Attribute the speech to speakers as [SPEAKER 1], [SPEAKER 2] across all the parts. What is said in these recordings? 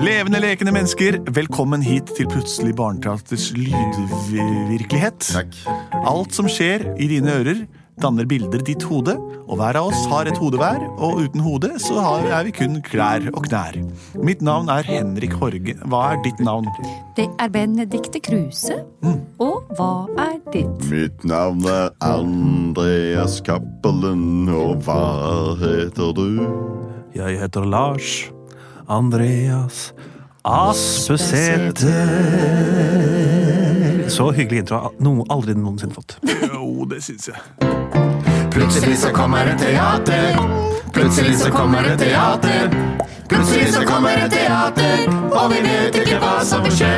[SPEAKER 1] Levende, lekende mennesker, velkommen hit til Plutselig barneteaters lydvirkelighet.
[SPEAKER 2] Takk.
[SPEAKER 1] Alt som skjer i dine ører, danner bilder ditt hode, og hver av oss har et hode hver, og uten hode så har, er vi kun klær og knær. Mitt navn er Henrik Horge. Hva er ditt navn?
[SPEAKER 3] Det er Benedicte Kruse.
[SPEAKER 1] Mm.
[SPEAKER 3] Og hva er ditt?
[SPEAKER 2] Mitt navn er Andreas Cappelen, og hva heter du?
[SPEAKER 4] Jeg heter Lars Andreas Aspesæter. Så hyggelig intro. har Noe aldri noensinne fått.
[SPEAKER 1] Jo, det syns jeg.
[SPEAKER 5] Plutselig så kommer det teater. Plutselig så kommer det teater. Plutselig så kommer det teater, og vi vet ikke hva som vil skje.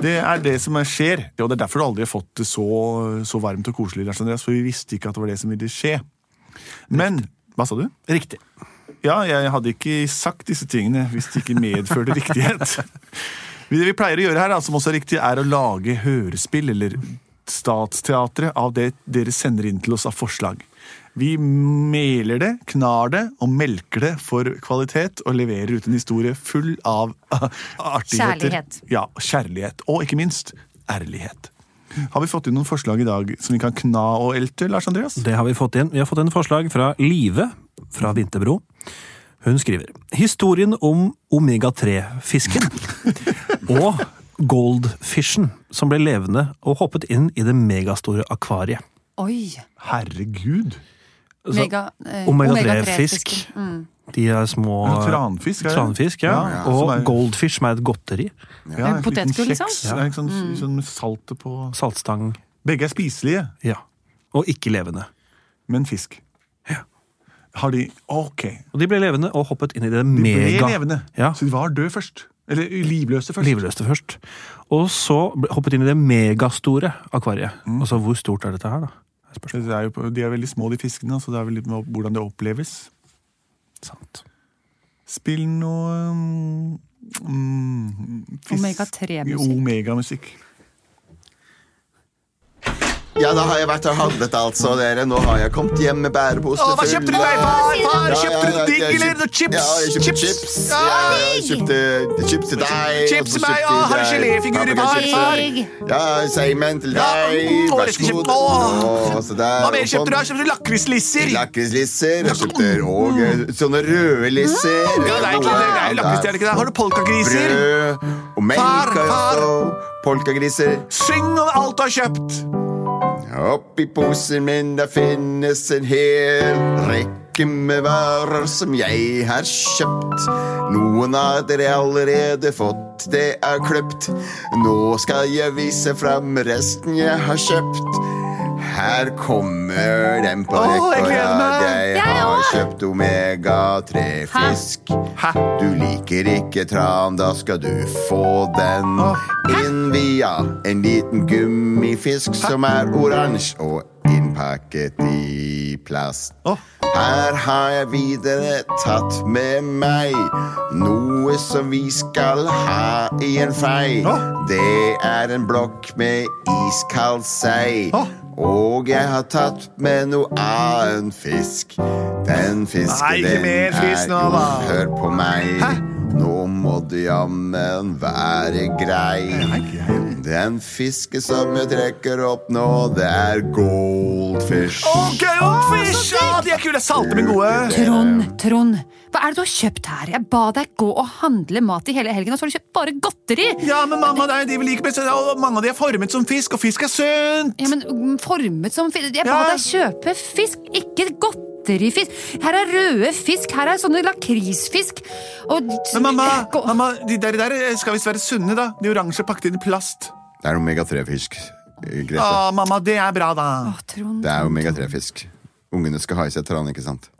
[SPEAKER 1] Det er det som er- skjer, og det er derfor du aldri har fått det så, så varmt og koselig, Lars Andreas, for vi visste ikke at det var det som ville skje. Men Hva sa du?
[SPEAKER 4] Riktig.
[SPEAKER 1] Ja, jeg hadde ikke sagt disse tingene hvis det ikke medførte riktighet. Det vi pleier å gjøre her, da, som også er riktig, er å lage hørespill eller statsteatret av det dere sender inn til oss av forslag. Vi meler det, knar det og melker det for kvalitet og leverer ut en historie full av artigheter.
[SPEAKER 3] Kjærlighet.
[SPEAKER 1] Ja, kjærlighet. Og ikke minst ærlighet. Har vi fått inn noen forslag i dag som vi kan kna og elte, Lars Andreas?
[SPEAKER 4] Det har vi fått inn. Vi har fått inn forslag fra Live fra Vinterbro. Hun skriver historien om omega-3-fisken og goldfishen som ble levende og hoppet inn i det megastore akvariet.
[SPEAKER 3] Oi!
[SPEAKER 1] Herregud!
[SPEAKER 4] Altså,
[SPEAKER 3] Mega, eh,
[SPEAKER 4] Omega-3-fisk. De er små
[SPEAKER 1] Ja, tranfisk, er det?
[SPEAKER 4] eh, Tranfisk, ja.
[SPEAKER 1] Ja, ja,
[SPEAKER 4] Og
[SPEAKER 1] som er-
[SPEAKER 4] goldfish, som er et godteri.
[SPEAKER 1] Ja, en liten
[SPEAKER 3] potetgull, liksom?
[SPEAKER 1] kjeks, ja. Sånn, sånn med saltet på
[SPEAKER 4] Saltstang.
[SPEAKER 1] Begge er spiselige,
[SPEAKER 4] Ja. Og ikke levende.
[SPEAKER 1] men fisk. Har de OK.
[SPEAKER 4] Og de ble levende og hoppet inn i det
[SPEAKER 1] De ble
[SPEAKER 4] mega
[SPEAKER 1] levende,
[SPEAKER 4] Ja,
[SPEAKER 1] så de var døde først. Eller eh, livløse først.
[SPEAKER 4] Livløste først. Og så ble- hoppet inn i det megastore akvariet. Altså, hvor stort er dette her, da? Er spørsmålet.
[SPEAKER 1] Det er jo, på- de er veldig små, de fiskene, så det er vel litt med hvordan det oppleves.
[SPEAKER 4] Sant.
[SPEAKER 1] Spill noe um, mm, fisk-
[SPEAKER 3] Omega-3-musikk.
[SPEAKER 1] Omega-musikk.
[SPEAKER 2] Ja, da har jeg vært og handlet, altså, dere. Nå har jeg kommet hjem med bærepose
[SPEAKER 1] Å, hva
[SPEAKER 2] full-
[SPEAKER 1] kjøpte du deg, far? Far,
[SPEAKER 2] Ja,
[SPEAKER 1] kjøpte
[SPEAKER 2] ja,
[SPEAKER 1] du digg,
[SPEAKER 2] jeg
[SPEAKER 1] eller
[SPEAKER 2] kjøpte-
[SPEAKER 1] noe chips?
[SPEAKER 2] Ja, jeg kjøpte
[SPEAKER 1] Chips?
[SPEAKER 2] chips. Ja, jeg kjøpte chips til deg.
[SPEAKER 1] Chips
[SPEAKER 2] og så
[SPEAKER 1] til meg,
[SPEAKER 2] kjøpte
[SPEAKER 1] å, har du
[SPEAKER 2] jeg
[SPEAKER 1] geléfigurer i
[SPEAKER 2] paprikachips
[SPEAKER 1] far,
[SPEAKER 2] til deg. Ja, seimen til
[SPEAKER 1] Ja,
[SPEAKER 2] deg.
[SPEAKER 1] mm, å,
[SPEAKER 2] Vær
[SPEAKER 1] jeg
[SPEAKER 2] så
[SPEAKER 1] kjøpte-
[SPEAKER 2] god.
[SPEAKER 1] å.
[SPEAKER 2] Å, så der,
[SPEAKER 1] Hva mer kjøpte du?
[SPEAKER 2] og sånn.
[SPEAKER 1] da? Kjøpte du lakrislisser?
[SPEAKER 2] Lakrislisser. Jeg kjøpte og eh, sånne røde
[SPEAKER 1] Ja,
[SPEAKER 2] lisser.
[SPEAKER 1] det er ikke det. det er jo lakris, det er det ikke det. Har du polkagriser?
[SPEAKER 2] Brød og melk
[SPEAKER 1] Far,
[SPEAKER 2] har jeg
[SPEAKER 1] far.
[SPEAKER 2] også. Polkagriser.
[SPEAKER 1] Syng over alt du har kjøpt!
[SPEAKER 2] Oppi posen min der finnes en hel rekke med varer som jeg har kjøpt. Noen har dere allerede fått, det er kløpt. Nå skal jeg vise fram resten jeg har kjøpt. Her kommer den på
[SPEAKER 1] Åh, jeg
[SPEAKER 2] rekka.
[SPEAKER 1] gleder meg.
[SPEAKER 2] Jeg har kjøpt omega-3-fisk.
[SPEAKER 1] Hæ?
[SPEAKER 2] Du liker ikke tran, da skal du få den inn via en liten gummifisk som er oransje og innpakket i plast.
[SPEAKER 1] Å.
[SPEAKER 2] Her har jeg videre tatt med meg noe som vi skal ha i en fei.
[SPEAKER 1] Å.
[SPEAKER 2] Det er en blokk med iskald sei.
[SPEAKER 1] Å.
[SPEAKER 2] Og jeg har tatt med noe annen fisk. Den
[SPEAKER 1] Nei,
[SPEAKER 2] fisken,
[SPEAKER 1] ikke
[SPEAKER 2] den
[SPEAKER 1] mer fisk
[SPEAKER 2] er
[SPEAKER 1] nå,
[SPEAKER 2] jo
[SPEAKER 1] da.
[SPEAKER 2] Hør på meg. Nå må du jammen være grei. Den fisken som jeg trekker opp nå, det er goldfish.
[SPEAKER 1] Ok, Goldfish! Ja, de er kule! Salte, men gode.
[SPEAKER 3] Trond, Trond, hva er det du har kjøpt her? Jeg ba deg gå og handle mat i hele helgen, og så har du kjøpt bare godteri!
[SPEAKER 1] Ja, men mange av de, de vi liker best, og mange av de er formet som fisk, og fisk er sunt!
[SPEAKER 3] Ja, men mm, formet som fisk Jeg ba
[SPEAKER 1] Ja.
[SPEAKER 3] deg kjøpe fisk, ikke godterifisk. Her er røde fisk, her er sånne lakrisfisk. Og
[SPEAKER 1] Men mamma,
[SPEAKER 3] Gå-
[SPEAKER 1] mamma de der, der skal visst være sunne, da. De oransje pakket inn i plast.
[SPEAKER 2] Det er omega-3-fisk, eh, Grete.
[SPEAKER 1] Å, mamma, det er bra, da.
[SPEAKER 3] Å, Trond.
[SPEAKER 2] Det er omega-3-fisk. Ungene skal ha i seg tran, ikke sant?
[SPEAKER 1] Å,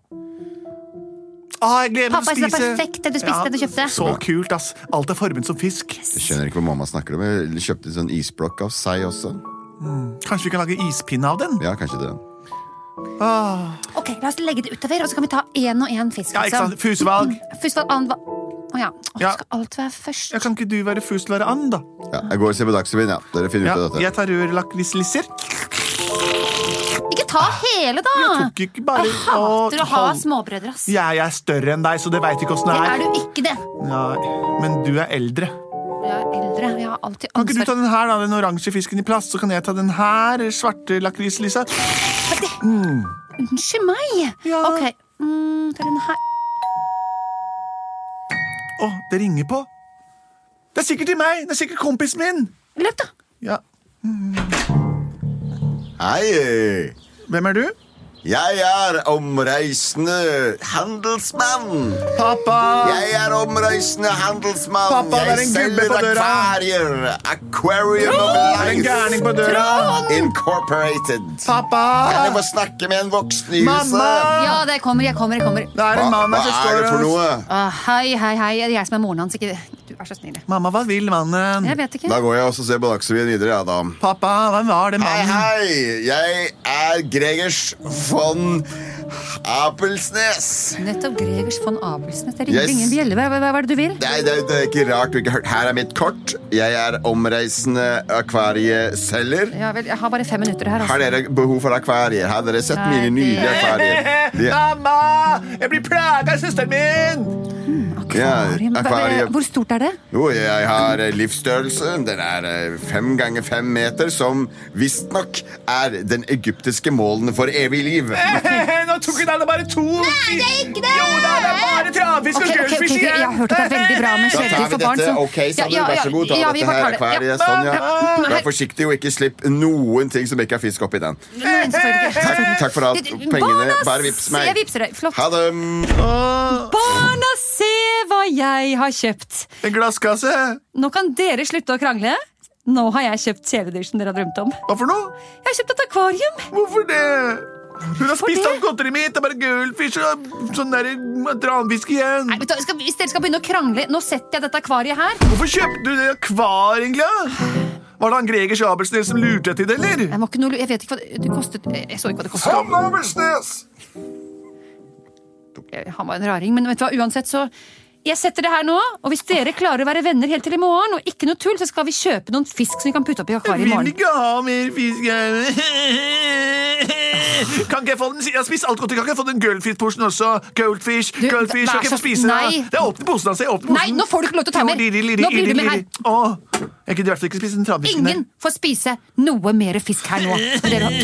[SPEAKER 1] Ah, jeg gleder meg
[SPEAKER 3] Pappa,
[SPEAKER 1] til å
[SPEAKER 3] det er
[SPEAKER 1] spise.
[SPEAKER 3] perfekt det du spiste, det du kjøpte.
[SPEAKER 1] Så kult, ass. Alt er formet som fisk.
[SPEAKER 2] Jeg skjønner ikke hva mamma snakker om. Jeg kjøpte en sånn isblokk av sei også.
[SPEAKER 1] Kanskje vi kan lage ispinne av den?
[SPEAKER 2] Ja, kanskje det.
[SPEAKER 3] Ok, la oss legge det utover, og så kan vi ta én og én fisk.
[SPEAKER 1] Ja, ikke
[SPEAKER 3] liksom.
[SPEAKER 1] sant? Fusevalg.
[SPEAKER 3] Først var annen var... Å ja. Å,
[SPEAKER 1] Ja.
[SPEAKER 3] Skal alt være først?
[SPEAKER 1] Ja, kan ikke du være fuselare and, da?
[SPEAKER 2] Ja, jeg går og ser på Dagsrevyen, ja. Dere finner
[SPEAKER 1] Ja,
[SPEAKER 2] ut av dette.
[SPEAKER 1] jeg tar rødlakrislisser.
[SPEAKER 3] Ikke ta hele, da!
[SPEAKER 1] Ah. Jeg tok ikke bare
[SPEAKER 3] Jeg hater å ha
[SPEAKER 1] halv-
[SPEAKER 3] småbrødre, ass.
[SPEAKER 1] Jeg er større enn deg, så det veit ikke åssen
[SPEAKER 3] Det
[SPEAKER 1] det
[SPEAKER 3] er
[SPEAKER 1] er.
[SPEAKER 3] du ikke, det.
[SPEAKER 1] Nei, men du er eldre.
[SPEAKER 3] Jeg er eldre. Jeg har alltid
[SPEAKER 1] Kan ikke du ta
[SPEAKER 3] ansvar.
[SPEAKER 1] den her, da? Den oransje fisken i plast. Så kan jeg ta den her svarte lakris, Lisa.
[SPEAKER 3] Unnskyld meg!
[SPEAKER 1] Ja.
[SPEAKER 3] Ok. Mm, ta den her.
[SPEAKER 1] Å, det ringer på. Det er sikkert til meg! Det er sikkert kompisen min!
[SPEAKER 3] Løp, da!
[SPEAKER 1] Ja,
[SPEAKER 2] Hei,
[SPEAKER 1] Hvem er du?
[SPEAKER 2] jeg er omreisende handelsmann.
[SPEAKER 1] Pappa!
[SPEAKER 2] Jeg er omreisende handelsmann.
[SPEAKER 1] Pappa, det er
[SPEAKER 2] jeg
[SPEAKER 1] en gubbe på døra.
[SPEAKER 2] akvarier. Aquarium of
[SPEAKER 1] Det er en gærning
[SPEAKER 2] Life
[SPEAKER 1] på døra!
[SPEAKER 2] Incorporated.
[SPEAKER 1] Pappa!
[SPEAKER 2] Kan jeg få snakke med en voksen i huset?
[SPEAKER 1] Mamma!
[SPEAKER 3] Ja, det kommer, jeg kommer, jeg kommer.
[SPEAKER 1] Det er
[SPEAKER 2] Hva,
[SPEAKER 1] en mann
[SPEAKER 2] hva
[SPEAKER 1] her som
[SPEAKER 2] er
[SPEAKER 1] står
[SPEAKER 2] det for noe?
[SPEAKER 3] Ah, hei, hei, hei. Det er jeg som er moren hans, ikke du. Vær så snill.
[SPEAKER 1] Mamma, hva vil mannen?
[SPEAKER 3] Jeg vet ikke.
[SPEAKER 2] Da går jeg også og ser på Dagsrevyen videre. Ja, da.
[SPEAKER 1] Pappa, hva var det
[SPEAKER 2] Hei,
[SPEAKER 1] mannen?
[SPEAKER 2] hei! Jeg er Gregers von Apelsnes.
[SPEAKER 3] Nettopp Gregers von Abelsnes. Det
[SPEAKER 2] Yes.
[SPEAKER 3] ringer ingen bjelle. Hva, hva, hva er det du vil?
[SPEAKER 2] Nei, det, det er ikke rart du ikke har hørt. Her er mitt kort. Jeg er omreisende akvarieselger.
[SPEAKER 3] Ja vel, jeg har bare fem minutter her.
[SPEAKER 2] Har
[SPEAKER 3] Altså.
[SPEAKER 2] dere behov for akvarier? Har dere sett
[SPEAKER 3] Nei,
[SPEAKER 2] mine
[SPEAKER 3] det-
[SPEAKER 2] nydelige akvarier? De,
[SPEAKER 1] Mamma! Jeg blir plaga av søsteren min!
[SPEAKER 3] Akvarium.
[SPEAKER 2] Ja,
[SPEAKER 3] Hva- hva-
[SPEAKER 2] akvarium.
[SPEAKER 3] Hvor stort er det?
[SPEAKER 2] jo, jeg har eh, livsstørrelse. Den er eh, fem ganger fem meter, som visstnok er den egyptiske målen for evig liv.
[SPEAKER 1] Nå tok hun alle bare to Nei, det er ikke det! Jo da, det er bare travfisk
[SPEAKER 3] Ok, ok, ok, ok, Jeg har hørt at det er veldig bra med
[SPEAKER 2] Da
[SPEAKER 3] kjæledyr
[SPEAKER 2] tar vi
[SPEAKER 3] for barn.
[SPEAKER 2] dette.
[SPEAKER 3] så-
[SPEAKER 2] Ok, Sander,
[SPEAKER 3] Ja, ja,
[SPEAKER 2] vær så god. Ta
[SPEAKER 3] ja, vi
[SPEAKER 2] dette
[SPEAKER 3] får ta
[SPEAKER 2] her
[SPEAKER 3] det.
[SPEAKER 2] akvariet.
[SPEAKER 3] Ja.
[SPEAKER 2] Sånn, ja.
[SPEAKER 3] Nei,
[SPEAKER 2] Vær forsiktig og ikke slipp noen ting som ikke er fisk oppi den.
[SPEAKER 3] nei, selvfølgelig ikke.
[SPEAKER 2] Takk, takk for alt.
[SPEAKER 3] Du-
[SPEAKER 2] Pengene,
[SPEAKER 3] barna,
[SPEAKER 2] bare vips
[SPEAKER 3] Jeg
[SPEAKER 2] meg.
[SPEAKER 3] vipser deg. Flott.
[SPEAKER 2] Ha det.
[SPEAKER 3] Barna, se hva jeg har kjøpt!
[SPEAKER 1] En glasskasse!
[SPEAKER 3] Nå kan dere slutte å krangle. Nå har jeg kjøpt kjæledyr som dere har drømt om.
[SPEAKER 1] Hva for noe?
[SPEAKER 3] Jeg har kjøpt et akvarium!
[SPEAKER 1] Hvorfor det? Hun har spist
[SPEAKER 3] det?
[SPEAKER 1] opp godteriet mitt! Det er bare gullfisk og sånn der tranfisk igjen.
[SPEAKER 3] Nei, vet du, hva, skal, hvis dere skal begynne å krangle, nå setter jeg dette akvariet her.
[SPEAKER 1] Hvorfor kjøpte du det akvar, egentlig? da? Var det han Gregers Abelsnes som lurte deg til det, eller?
[SPEAKER 3] Jeg, må ikke noe, lu- jeg vet ikke hva det, det kostet. Jeg så ikke hva det kostet.
[SPEAKER 2] Tom Amersnes!
[SPEAKER 3] Eh, Han var en raring, men vet du hva, uansett så jeg setter det her nå, og Hvis dere klarer å være venner helt til i morgen, og ikke noe tull, så skal vi kjøpe noen fisk som vi kan putte opp i
[SPEAKER 1] Jeg
[SPEAKER 3] akvariet i
[SPEAKER 1] vil
[SPEAKER 3] morgen.
[SPEAKER 1] ikke ha mer fisk. jeg. Kan ikke jeg få den? Jeg har spist alt godt. Kan ikke jeg få den gullfiskposen også? Goldfish,
[SPEAKER 3] Du,
[SPEAKER 1] goldfish.
[SPEAKER 3] vær
[SPEAKER 1] Kan ikke jeg
[SPEAKER 3] så-
[SPEAKER 1] få spise den?
[SPEAKER 3] nei.
[SPEAKER 1] da? Det er åpne posen, altså. Jeg åpner
[SPEAKER 3] Nei,
[SPEAKER 1] posen.
[SPEAKER 3] nå får du ikke lov til å ta mer.
[SPEAKER 1] Å, lirri, lirri,
[SPEAKER 3] Nå blir du
[SPEAKER 1] lirri,
[SPEAKER 3] med her.
[SPEAKER 1] lirri. Å, Jeg gidder i hvert fall ikke spise den trabbisken
[SPEAKER 3] Ingen får spise noe mer fisk her nå. Og dere har-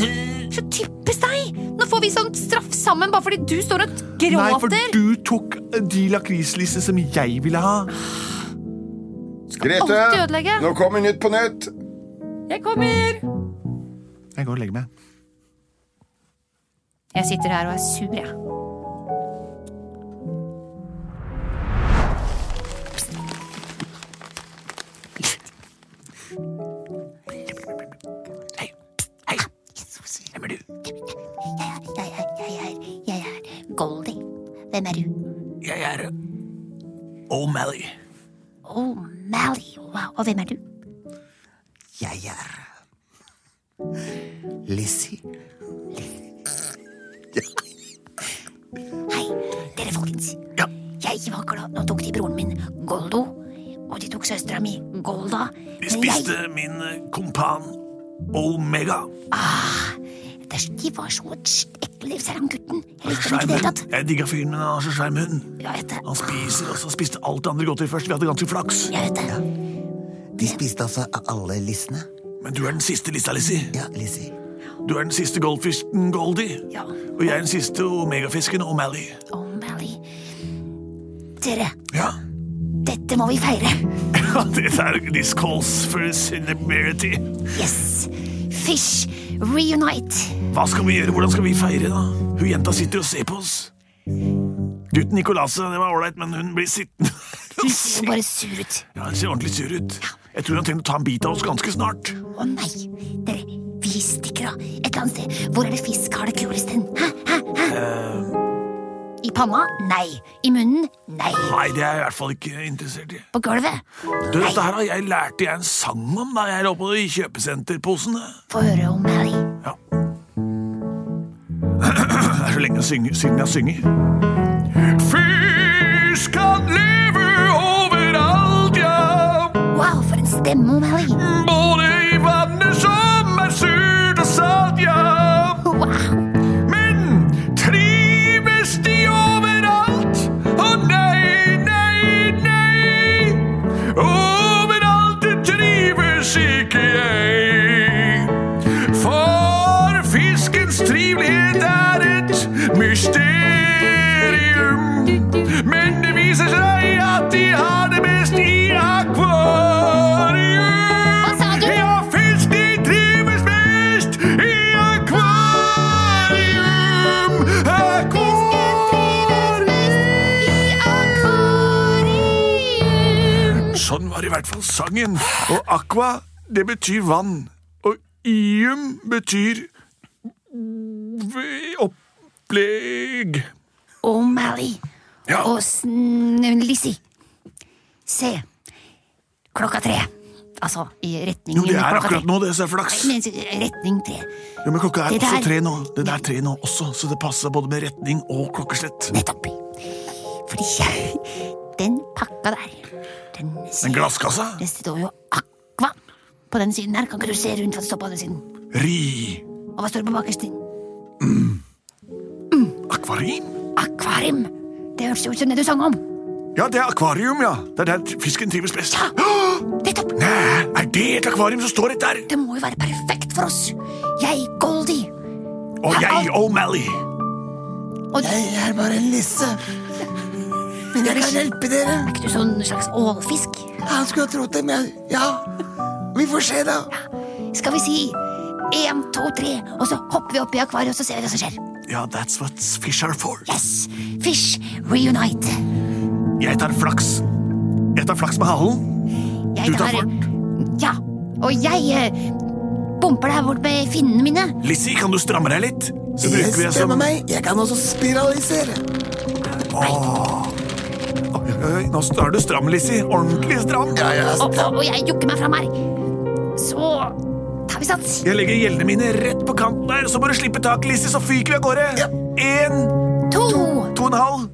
[SPEAKER 3] Så typisk deg! Nå får vi sånn straff sammen bare fordi du står og gråter.
[SPEAKER 1] Nei, for du tok eh, de lakrislissene som jeg ville ha.
[SPEAKER 2] Grete,
[SPEAKER 3] alltid ødelegge.
[SPEAKER 2] nå kommer Nytt på nytt.
[SPEAKER 3] Jeg kommer!
[SPEAKER 1] Jeg går og legger meg.
[SPEAKER 3] Jeg sitter her og er sur, jeg.
[SPEAKER 6] Jeg er, jeg er, jeg er Goldie. Hvem er du?
[SPEAKER 1] Jeg er O'Malley.
[SPEAKER 6] Oh, Mally. Wow. Og hvem er du?
[SPEAKER 5] Jeg er Lizzie.
[SPEAKER 6] Hei, dere folkens. Jeg var glad. Nå tok de broren min Goldo, og de tok søstera mi Golda.
[SPEAKER 1] De
[SPEAKER 6] Men jeg,
[SPEAKER 1] spiste min kompan Omega.
[SPEAKER 6] Æsj, de var så ekle, selv om gutten. Jeg likte dem
[SPEAKER 1] Svær
[SPEAKER 6] ikke i det hele tatt.
[SPEAKER 1] munn. Jeg digga fyren, men han har så svær munn.
[SPEAKER 6] Jeg vet det.
[SPEAKER 1] Han spiser også, spiste alt det andre godteri først. Vi hadde ganske flaks.
[SPEAKER 6] Jeg vet det.
[SPEAKER 5] De spiste altså alle lissene.
[SPEAKER 1] Men du er den siste lista, Lizzie.
[SPEAKER 5] Ja, Lizzie.
[SPEAKER 1] Du er den siste goldfisken Goldie.
[SPEAKER 6] Ja.
[SPEAKER 1] Og jeg er den siste omegafisken O'Malley.
[SPEAKER 6] Oh, Mally. Dere,
[SPEAKER 1] Ja.
[SPEAKER 6] dette må vi feire.
[SPEAKER 1] Dette er This calls for celebrity.
[SPEAKER 6] Yes. Fish reunite.
[SPEAKER 1] Hva skal vi gjøre? Hvordan skal vi feire, da? Hun jenta sitter og ser på oss. Gutten Nicolase, det var ålreit, men hun blir sittende.
[SPEAKER 6] Du ser jo bare sur ut.
[SPEAKER 1] Ja, Han ser ordentlig sur ut. Jeg tror han trenger å ta en bit av oss ganske snart.
[SPEAKER 6] Å nei, dere, vi stikker av et eller annet sted. Hvor er det fisk har det kulest hen? Hæ, hæ, hæ? I panna? Nei. I munnen? Nei.
[SPEAKER 1] Nei, det er jeg i hvert fall ikke interessert i.
[SPEAKER 6] På gulvet?
[SPEAKER 1] Du, Dette her har jeg lærte jeg en sang om da jeg lå på i kjøpesenterposene.
[SPEAKER 6] Få høre om Mally.
[SPEAKER 1] Ja. Det er så lenge syng- siden jeg synger. Fisk kan leve overalt, ja.
[SPEAKER 6] Wow, for en stemme om Mally.
[SPEAKER 1] Både i vannet som er surt og salt, ja.
[SPEAKER 6] Wow.
[SPEAKER 1] Sånn var i hvert fall sangen. Og aqua, det betyr vann. Og ium betyr v- opplegg.
[SPEAKER 6] Og Mally
[SPEAKER 1] Ja.
[SPEAKER 6] og sn- eh, Lizzie. Se. Klokka tre. Altså i retning
[SPEAKER 1] Jo, det er
[SPEAKER 6] klokka tre.
[SPEAKER 1] akkurat nå, det, så er flaks.
[SPEAKER 6] Men eh, retning tre.
[SPEAKER 1] Ja, men klokka er
[SPEAKER 6] Det
[SPEAKER 1] også
[SPEAKER 6] der-
[SPEAKER 1] tre nå. Den er tre nå også, så det passer både med retning og klokkeslett.
[SPEAKER 6] Nettopp. Fordi den pakka der Den, ser-
[SPEAKER 1] Den glasskassa.
[SPEAKER 6] Det står jo Aqua på den siden her. Kan ikke du se rundt hva det står på den siden?
[SPEAKER 1] Ri.
[SPEAKER 6] Og hva står det på bakerst?
[SPEAKER 1] Akvarim?
[SPEAKER 6] Akvarium! Det hørtes jo ut som det du sang om.
[SPEAKER 1] Ja, det er akvarium, ja. Det er der fisken trives best.
[SPEAKER 6] Ja. Nettopp!
[SPEAKER 1] Nei, er det et akvarium som står rett der?
[SPEAKER 6] Det må jo være perfekt for oss. Jeg, Goldie
[SPEAKER 1] Og jeg, oh, O'Malley.
[SPEAKER 6] og Jeg er bare en lisse. Men jeg kan hjelpe dere. Er ikke du sånn slags ålfisk?
[SPEAKER 5] Han skulle ha trodd det, men ja. Vi får se, da.
[SPEAKER 6] Skal vi si én, to, tre, og så hopper vi opp i akvariet og så ser vi hva som skjer.
[SPEAKER 1] Ja, that's what fish are for.
[SPEAKER 6] Yes! Fish reunite.
[SPEAKER 1] Jeg tar flaks. Jeg tar flaks med halen.
[SPEAKER 6] Jeg
[SPEAKER 1] Du tar
[SPEAKER 6] Ja. Og jeg eh, bumper deg bort med finnene mine.
[SPEAKER 1] Lizzie, kan du stramme deg litt? Så
[SPEAKER 5] Jeg
[SPEAKER 1] bruker vi det som
[SPEAKER 5] stemmer meg. Jeg kan også spiralisere.
[SPEAKER 1] Oi, oi, Nå er du stram, Lizzie. Ordentlig stram.
[SPEAKER 5] Ja, ja.
[SPEAKER 6] Og, og jeg jukker meg fram her. Så tar vi sats.
[SPEAKER 1] Jeg legger gjellene mine rett på kanten her, så må du slippe tak, Lizzie, så fyker vi av gårde. En,
[SPEAKER 6] To!
[SPEAKER 1] to og en halv.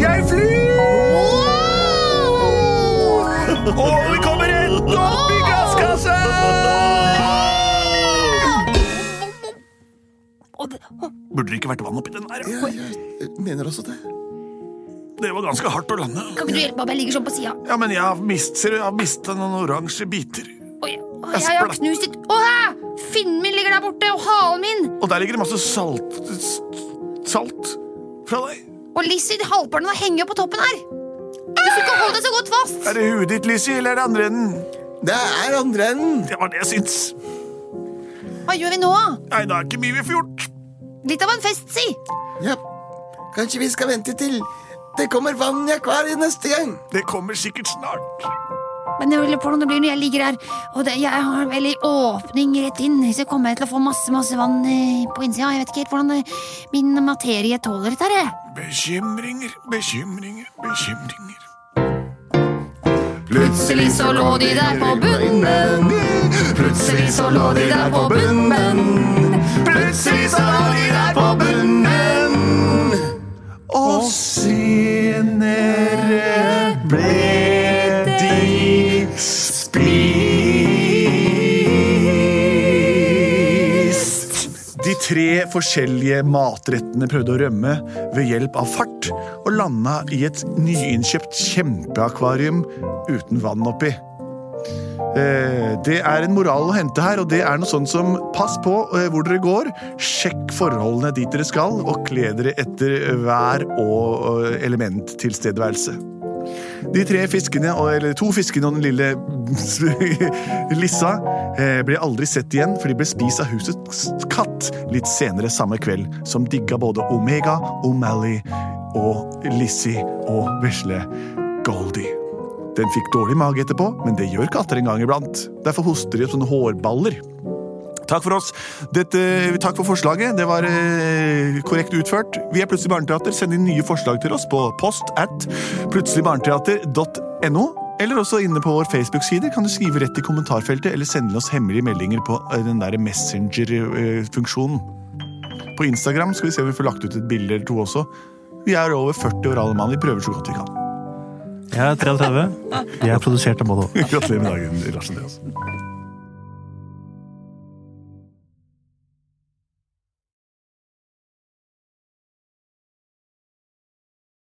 [SPEAKER 1] Jeg flyr! Og vi kommer rett opp i glasskassa!
[SPEAKER 6] Og det- og-
[SPEAKER 1] Burde det ikke vært vann oppi den der?
[SPEAKER 5] Ja, jeg mener også det.
[SPEAKER 1] Det var ganske hardt å lande.
[SPEAKER 6] Kan ikke du hjelpe meg? Jeg ligger sånn på sida.
[SPEAKER 1] Ja, men jeg har mist, ser du, jeg har mistet noen oransje biter.
[SPEAKER 6] Og jeg, og
[SPEAKER 1] Jeg
[SPEAKER 3] Altså-
[SPEAKER 6] jeg har
[SPEAKER 1] spratt.
[SPEAKER 6] knust litt Å, hæ! Finnen min ligger der borte, og halen min!
[SPEAKER 1] Og der ligger det masse salt s- Salt fra deg.
[SPEAKER 6] Og Lizzie, halvparten av henger jo på toppen her. Hvis du ikke holder deg så godt fast.
[SPEAKER 1] Er det huet ditt, Lizzie, eller er det andre enden?
[SPEAKER 5] Det er andre enden.
[SPEAKER 1] Det var det jeg syns.
[SPEAKER 6] Hva gjør vi nå?
[SPEAKER 1] Nei, det er ikke mye vi får gjort.
[SPEAKER 6] Litt av en fest, si.
[SPEAKER 5] Ja. Kanskje vi skal vente til det kommer vann i akvariet neste gang.
[SPEAKER 1] Det kommer sikkert snart.
[SPEAKER 6] Men jeg lurer på hvordan det blir når jeg ligger her. Og det, jeg har en veldig åpning rett inn, så kommer jeg til å få masse masse vann eh, på innsida. Jeg vet ikke helt hvordan eh, min materie tåler dette. her, jeg.
[SPEAKER 1] Bekymringer, bekymringer, bekymringer.
[SPEAKER 5] Plutselig
[SPEAKER 6] så lå de der på bunnen.
[SPEAKER 5] Plutselig så lå de der på bunnen. Plutselig så lå de der på bunnen.
[SPEAKER 1] Og senere ble de spist. De tre forskjellige matrettene prøvde å rømme ved hjelp av fart og landa i et nyinnkjøpt kjempeakvarium uten vann oppi. Eh, Det er en moral å hente her, og det er noe sånt som pass på eh, hvor dere går, sjekk forholdene dit dere skal, og kle dere etter vær og eh, elementtilstedeværelse. De tre fiskene, og- eller to fiskene og den lille Lissa eh, ble aldri sett igjen, for de ble spist av husets katt litt senere samme kveld, som digga både Omega, O'Malley og Lizzie og vesle Goldie. Den fikk dårlig mage etterpå, men det gjør katter en gang iblant. Derfor hoster de opp sånne hårballer. Takk for oss. Dette, takk for forslaget. Det var eh, korrekt utført. Vi er Plutselig barneteater. Send inn nye forslag til oss på post at plutseligbarneteater.no. Eller også inne på vår Facebook-side kan du skrive rett i kommentarfeltet eller sende oss hemmelige meldinger på eh, den der Messenger-funksjonen. På Instagram skal vi se om vi får lagt ut et bilde eller to også. Vi er over 40 år alle mann. Vi prøver så godt vi kan.
[SPEAKER 4] Jeg er 33. Jeg er produsert av både og.
[SPEAKER 1] Gratulerer med dagen, Lars Andreas.